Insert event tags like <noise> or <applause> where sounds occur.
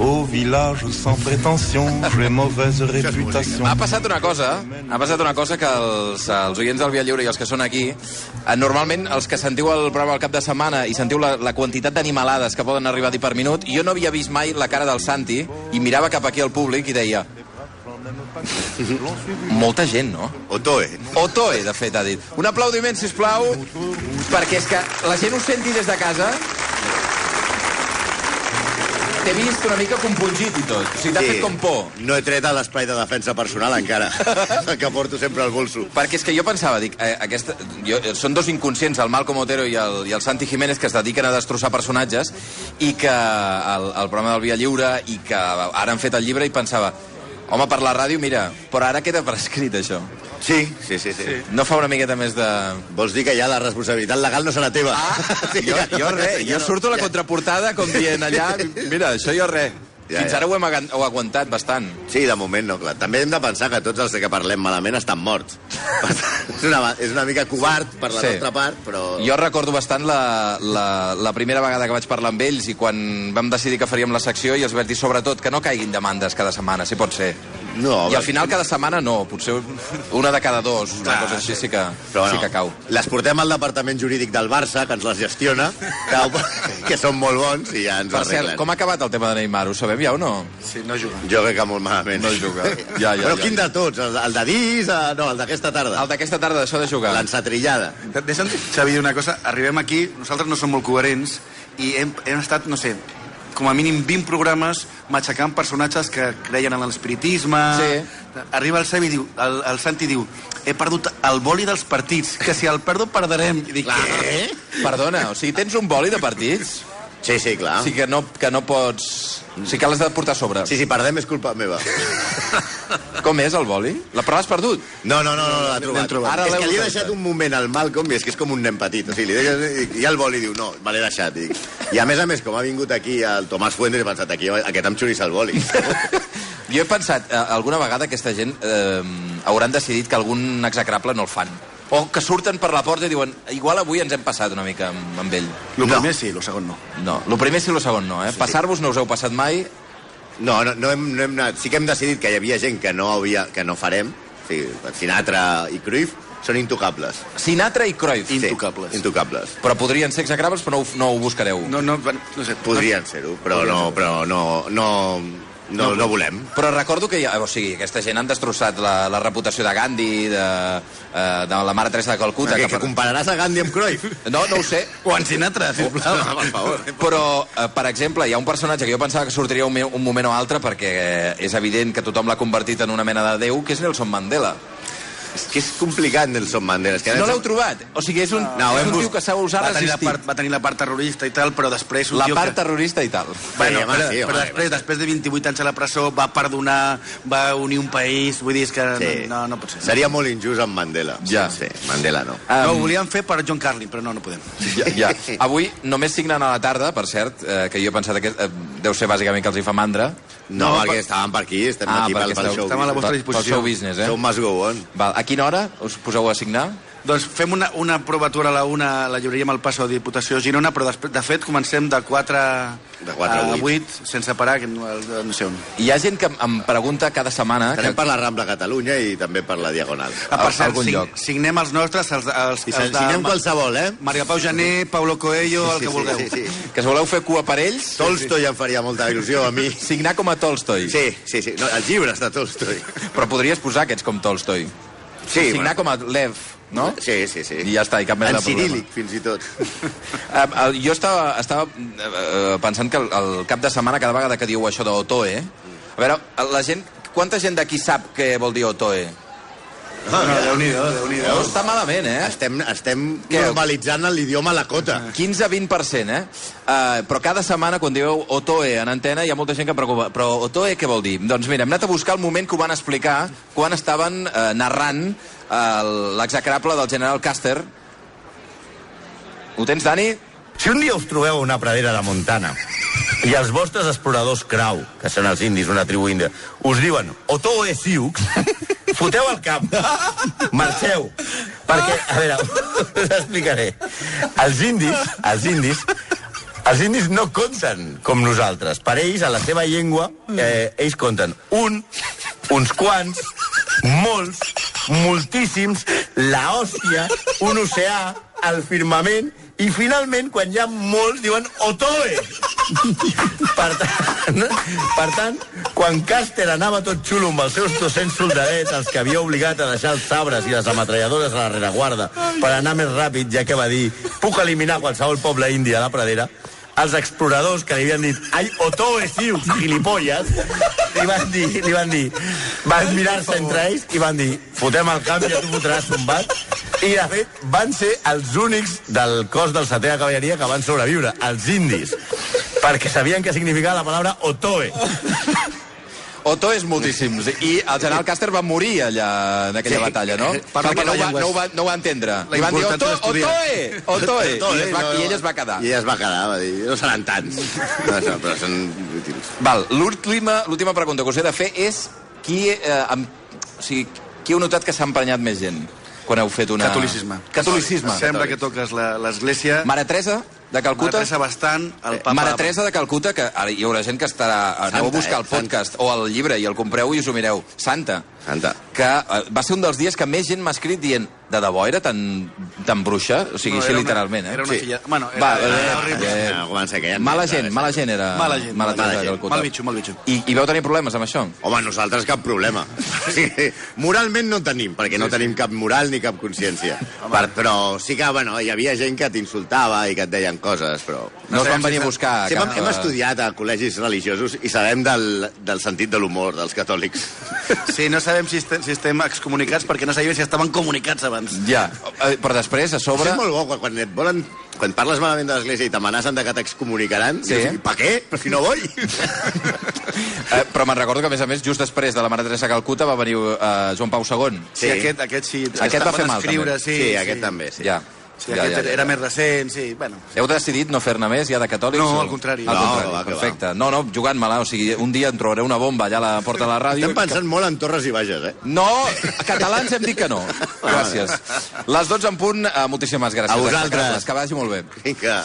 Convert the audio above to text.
Au village sans prétention, j'ai mauvaise réputation. Ha passat una cosa, ha passat una cosa que els, els oients del Via Lliure i els que són aquí, eh, normalment els que sentiu el programa al cap de setmana i sentiu la, la quantitat d'animalades que poden arribar a dir per minut, jo no havia vist mai la cara del Santi i mirava cap aquí al públic i deia "Mm-hmm." molta gent, no? Otoe. Otoe, de fet, ha dit. Un aplaudiment, si plau, perquè és que la gent ho senti des de casa. T'he vist una mica compungit i tot. O sigui, t'ha fet com por. No he tret a l'espai de defensa personal encara, <laughs> el que porto sempre al bolso. Perquè és que jo pensava, dic, eh, aquesta, jo, eh, són dos inconscients, el Malcom Otero i el, i el Santi Jiménez, que es dediquen a destrossar personatges, i que el, el programa del Via Lliure, i que ara han fet el llibre, i pensava, home, per la ràdio, mira, però ara queda prescrit, això. Sí, sí, sí. sí. sí. No fa una miqueta més de... Vols dir que ja la responsabilitat legal no serà teva? <laughs> <laughs> Sí, Ah, jo, jo res, jo surto a la contraportada com dient allà, mira, això jo res. Ja, Fins ja. ara ho hem agan- ho aguantat bastant. Sí, de moment no, clar. També hem de pensar que tots els que parlem malament estan morts. <laughs> Per tant, és, una, és una mica covard per la Sí. nostra part, però... Jo recordo bastant la, la, la primera vegada que vaig parlar amb ells i quan vam decidir que faríem la secció i els vaig dir, sobretot, que no caiguin demandes cada setmana, si pot ser. No, I home, al final cada setmana no, potser una de cada dos, una cosa així sí que, Però sí que cau. Les portem al departament jurídic del Barça, que ens les <laughs> gestiona, que, que són molt bons i ja ens Per cert, arreglen. com ha acabat el tema de Neymar? Ho sabem ja o no? Sí, no juga. Jo crec que molt malament. No hi <laughs> juga. Ja, ja, Però ja, quin ja. Ah, de tots? El, el de dins? El, no, el d'aquesta tarda. El d'aquesta tarda, això de jugar. L'ensatrillada. Deixa'm, Xavi, dir una cosa. Arribem aquí, nosaltres no som molt coherents i hem, hem estat, no sé, com a mínim 20 programes matxacant personatges que creien en l'espiritisme... Sí. Arriba el, Xavi, i diu, el, el Santi i diu he perdut el boli dels partits, que si el perdo perdrem. I dic, què? Eh? Perdona, o sigui, tens un boli de partits? Sí, sí, clar. O sigui que no, que no pots... O sigui que l'has de portar a sobre. Ah. Sí, si perdem és culpa meva. Com és el boli? La però l'has perdut? No, no, no, no l'ha trobat. trobat. Ara és que l'heu li he trobat. deixat un moment al Malcolm i és que és com un nen petit. O sigui, li deixes, i el vol i diu, no, me l'he deixat. I, I a més a més, com ha vingut aquí el Tomàs Fuentes, he pensat, aquí aquest em xurissa el boli. Jo he pensat, eh, alguna vegada aquesta gent eh, hauran decidit que algun execrable no el fan. O que surten per la porta i diuen igual avui ens hem passat una mica amb, amb ell. El primer sí, el segon no. No, el primer sí, el segon no, eh? Passar-vos no us heu passat mai. No, no, no, hem, no hem anat. Sí que hem decidit que hi havia gent que no, havia, que no farem. O sigui, Sinatra i Cruyff són intocables. Sinatra i Cruyff. Sí, Intocables. intocables. Però podrien ser execrables, però no, ho- no ho buscareu. No, no, bueno, no sé. Podrien ser-ho, però no, però no, no, no, no volem. Però recordo que, hi ha- o sigui, aquesta gent han destrossat la, la reputació de Gandhi, de, eh, de la mare Teresa de Calcuta... Que, que per- compararàs a Gandhi amb Cruyff? No, no ho sé. O en Sinatra, <laughs> sisplau. Oh, per favor. Però, eh, per exemple, hi ha un personatge que jo pensava que sortiria un, me- un moment o altre perquè eh, és evident que tothom l'ha convertit en una mena de déu, que és Nelson Mandela. És que és complicat, Nelson Mandela. És que No Nelson- l'heu trobat? O sigui, és un, No, és hem un bus- tio que s'ha usar Va tenir, la resistir. part, va tenir la part terrorista i tal, però després... un La tio part que... terrorista i tal. Bueno, Sí, home, però, sí, home, però després, després de 28 anys a la presó va perdonar, va unir un país, vull dir, és que Sí. no, no, no pot ser. Seria molt injust amb Mandela. Ja. Sí, Mandela no. No, ho volíem fer per John Carlin, però no, no podem. Ja, ja. Avui només signen a la tarda, per cert, eh, que jo he pensat que eh, deu ser bàsicament que els hi fa mandra. No, No, perquè per- estàvem per aquí, estem Ah, aquí pel, perquè pel esteu- show. estem a la vostra Pel- disposició. Pel show business, eh? Show must go on. Val. A quina hora us poseu a signar? Doncs fem una, una provatura a la una, a la lliureríem al Passo de Diputació a Girona, però després, de fet comencem de 4, De quatre a a vuit. 8, sense parar, que no, no sé on. Hi ha gent que em- em pregunta cada setmana... Anem per la Rambla Catalunya i també per la Diagonal. Ah, per A- cert, algun sign, lloc. signem els nostres, els, els, I els, si anem de... qualsevol, eh? Maria Pau Gené, Paulo Coelho, el que vulgueu. Sí, sí, sí. Que si voleu fer cua per ells, Tolstoi em faria molta il·lusió a mi. signar com a Tolstoi. Sí, sí, sí. No, els llibres de Tolstoi. Però podries posar aquests com Tolstoi. Sí, Signar com a Lev, no? Sí, sí, sí. I ja està, i cap mena En de problema. cirílic, fins i tot. Eh, eh, jo estava, estava eh, eh, pensant que el, el cap de setmana, cada vegada que diu això d'Otoe... A veure, la gent... Quanta gent d'aquí sap què vol dir Otoe? No, Déu-n'hi-do, Déu-n'hi-do. No està malament, eh? Estem, estem Què? normalitzant l'idioma Lakota. 15-20%, eh? Uh, però cada setmana, quan dieu Otoe en antena, hi ha molta gent que em preocupa. Però Otoe què vol dir? Doncs mira, hem anat a buscar el moment que ho van explicar quan estaven eh, narrant eh, l'execrable del general Caster. Ho tens, Dani? Si un dia us trobeu a una pradera de Montana i els vostres exploradors crau, que són els indis, una tribu índia, us diuen Otoe Siux, <laughs> foteu el cap, marxeu, <laughs> perquè, a veure, us explicaré. Els indis, els indis, Els indis no compten com nosaltres. Per ells, a la seva llengua, eh, ells compten un, uns quants, molts, moltíssims, la hòstia, un oceà, el firmament, i finalment, quan hi ha molts, diuen Otoe! Per tant, per tant, quan Caster anava tot xulo amb els seus 200 soldadets, els que havia obligat a deixar els sabres i les ametralladores a la rereguarda per anar més ràpid, ja que va dir puc eliminar qualsevol poble indi a la pradera, els exploradors que li havien dit ai, otoe siux, gilipolles, li van dir, li van dir, van mirar-se entre ells i van dir, fotem el camp i ja tu fotràs tombat, i de fet van ser els únics del cos del setè de cavalleria que van sobreviure, els indis, perquè sabien què significava la paraula otoe. Oto és moltíssims. I el general Caster va morir allà, en aquella Sí. sí. batalla, no? <laughs> Parla Perquè no ho, de va, llengües. no, ho va, no ho va entendre. La Li van dir, Oto, importància d'estudiar. Otoe, <laughs> Otoe. Tot, I, eh? es va, No, no. I ella es va quedar. I ella es va quedar, va dir, no seran tants. Ah. No, no, però són útils. Val, l'última l'última pregunta que us he de fer és qui, eh, amb, o sigui, qui heu notat que s'ha emprenyat més gent quan heu fet una... Catolicisme. Catolicisme. Sembla que toques la- l'església, Mare Teresa de Mare Calcuta. Teresa bastant, Eh, el papa... Mare Teresa de Calcuta, que ara hi haurà gent que estarà... Aneu a Santa, buscar el eh? podcast o el llibre i el compreu i us ho mireu. Santa. Santa. Que eh, va ser un dels dies que més gent m'ha escrit dient de debò era tan, tan bruixa? O sigui, no, No, així era una- literalment, eh? era una filla- bueno, era- Va, era eh, horrible. eh, No, Ah, comença que ja- mala gent, mala gent era... Mala gent, Mala, mala Teresa de gent. Calcuta. Mal bitxo, mal bitxo. I, I vau tenir problemes amb això? Home, nosaltres cap <laughs> problema. O sigui, moralment no en tenim, perquè no tenim cap moral ni cap consciència. Per, però sí que, bueno, hi havia gent que t'insultava i que et deien coses, però... No us van venir a buscar Sí, cap, hem, hem eh, estudiat a col·legis religiosos i sabem del, del sentit de l'humor dels catòlics. Sí, no sabem si, este, si estem excomunicats perquè no sabíem si estaven comunicats abans. Ja, eh, però després, a Això sobre... és molt bo, quan, quan et volen... Quan parles malament de l'Església i t'amenacen de que t'excomunicaran, Sí. sí. dius, per què? Però si no vull. Eh, però me'n recordo que, a més a més, just després de la Mare Teresa de Calcuta va venir eh, Joan Pau II. Sí, Sí. aquest, aquest sí. Aquest va fer mal, escriure, també. Sí, sí, aquest també, sí. Ja. Sí, aquest ja, ja, ja. era més recent, sí, bueno. Heu decidit no fer-ne més, ja de catòlics? o- No, al contrari. Al No, contrari, que va, que va. perfecte. No, no, jugant-me-la, o sigui, un dia en trobaré una bomba allà a la porta de la ràdio. Estem pensant molt en Torres i Bages, eh? No, catalans hem dit que <laughs> no. Gràcies. Les 12 en punt, eh, moltíssimes gràcies. A vosaltres. Carles, Que vagi molt bé. Vinga.